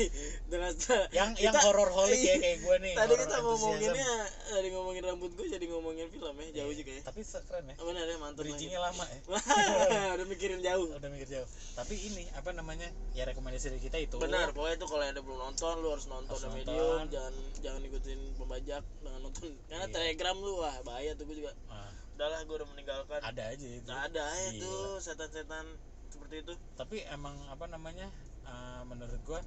[SPEAKER 2] dengan
[SPEAKER 1] yang yang
[SPEAKER 2] kita-
[SPEAKER 1] horor holik
[SPEAKER 2] (laughs)
[SPEAKER 1] ya kayak gue nih.
[SPEAKER 2] Tadi
[SPEAKER 1] horror
[SPEAKER 2] kita
[SPEAKER 1] enthusiasm.
[SPEAKER 2] ngomonginnya dari ngomongin rambut gue jadi ngomongin film ya, jauh
[SPEAKER 1] Iya,
[SPEAKER 2] juga ya.
[SPEAKER 1] Tapi se- keren ya.
[SPEAKER 2] Ah, Benar ya, mantap lagi.
[SPEAKER 1] Bridgingnya lama ya.
[SPEAKER 2] (laughs) udah mikirin jauh.
[SPEAKER 1] Udah mikir jauh. Tapi ini apa namanya? Ya rekomendasi dari kita itu.
[SPEAKER 2] Benar, pokoknya itu kalau yang ada belum nonton lu harus nonton
[SPEAKER 1] Harus
[SPEAKER 2] The
[SPEAKER 1] nonton.
[SPEAKER 2] Medium, jangan jangan ikutin pembajak dengan nonton. Karena
[SPEAKER 1] Iya.
[SPEAKER 2] Telegram lu wah bahaya tuh gue juga.
[SPEAKER 1] Ah,
[SPEAKER 2] Udahlah gue udah meninggalkan.
[SPEAKER 1] ada aja itu.
[SPEAKER 2] Nah, ada ya
[SPEAKER 1] Gila.
[SPEAKER 2] itu setan-setan seperti itu.
[SPEAKER 1] Tapi emang apa namanya? ah, menurut gue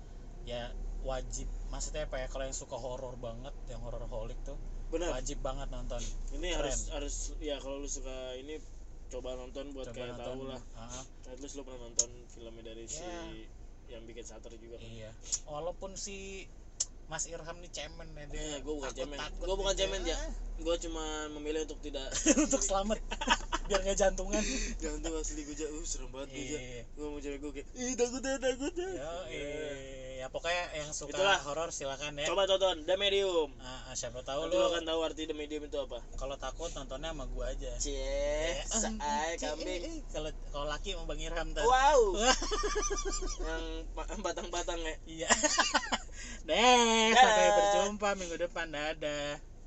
[SPEAKER 1] ya wajib maksudnya apa ya kalau yang suka horor banget yang horor holik tuh
[SPEAKER 2] Benar.
[SPEAKER 1] wajib banget nonton
[SPEAKER 2] Ini
[SPEAKER 1] Keren.
[SPEAKER 2] harus harus ya kalau lu suka ini coba nonton buat
[SPEAKER 1] Coba
[SPEAKER 2] kayak
[SPEAKER 1] nonton.
[SPEAKER 2] tahu lah.
[SPEAKER 1] Ah, ah.
[SPEAKER 2] At least lu pernah nonton filmnya dari si
[SPEAKER 1] Ya.
[SPEAKER 2] yang bikin Shutter juga. kan.
[SPEAKER 1] Iya. Walaupun si Mas Irham nih cemen ya dia.
[SPEAKER 2] Iya, gua bukan cemen.
[SPEAKER 1] Takut-takut
[SPEAKER 2] Gua bukan
[SPEAKER 1] gitu
[SPEAKER 2] cemen, Ja. Gue cuma memilih untuk tidak
[SPEAKER 1] (laughs)
[SPEAKER 2] (laughs)
[SPEAKER 1] Untuk selamat (laughs) biar nggak jantungan.
[SPEAKER 2] jangan tuh asli gue jauh Uh, serem banget gue
[SPEAKER 1] Iya.
[SPEAKER 2] gue mau cewek gue kayak ih takut ya takut ya
[SPEAKER 1] Yo,
[SPEAKER 2] Iya.
[SPEAKER 1] ya pokoknya yang suka
[SPEAKER 2] Itulah.
[SPEAKER 1] horor silakan ya
[SPEAKER 2] Eh, Coba tonton The Medium.
[SPEAKER 1] Ah, ah, siapa tahu lu
[SPEAKER 2] Nanti lu akan tahu arti The Medium itu apa.
[SPEAKER 1] kalau takut nontonnya sama gua aja
[SPEAKER 2] Cie,
[SPEAKER 1] Eh,
[SPEAKER 2] saai
[SPEAKER 1] cie,
[SPEAKER 2] kambing.
[SPEAKER 1] eh, eh. kalau kalau laki sama bang Irham tuh
[SPEAKER 2] Wow. eh. Yang pa- batang-batang ya.
[SPEAKER 1] iya (laughs) deh sampai
[SPEAKER 2] Dadah.
[SPEAKER 1] berjumpa minggu depan dadah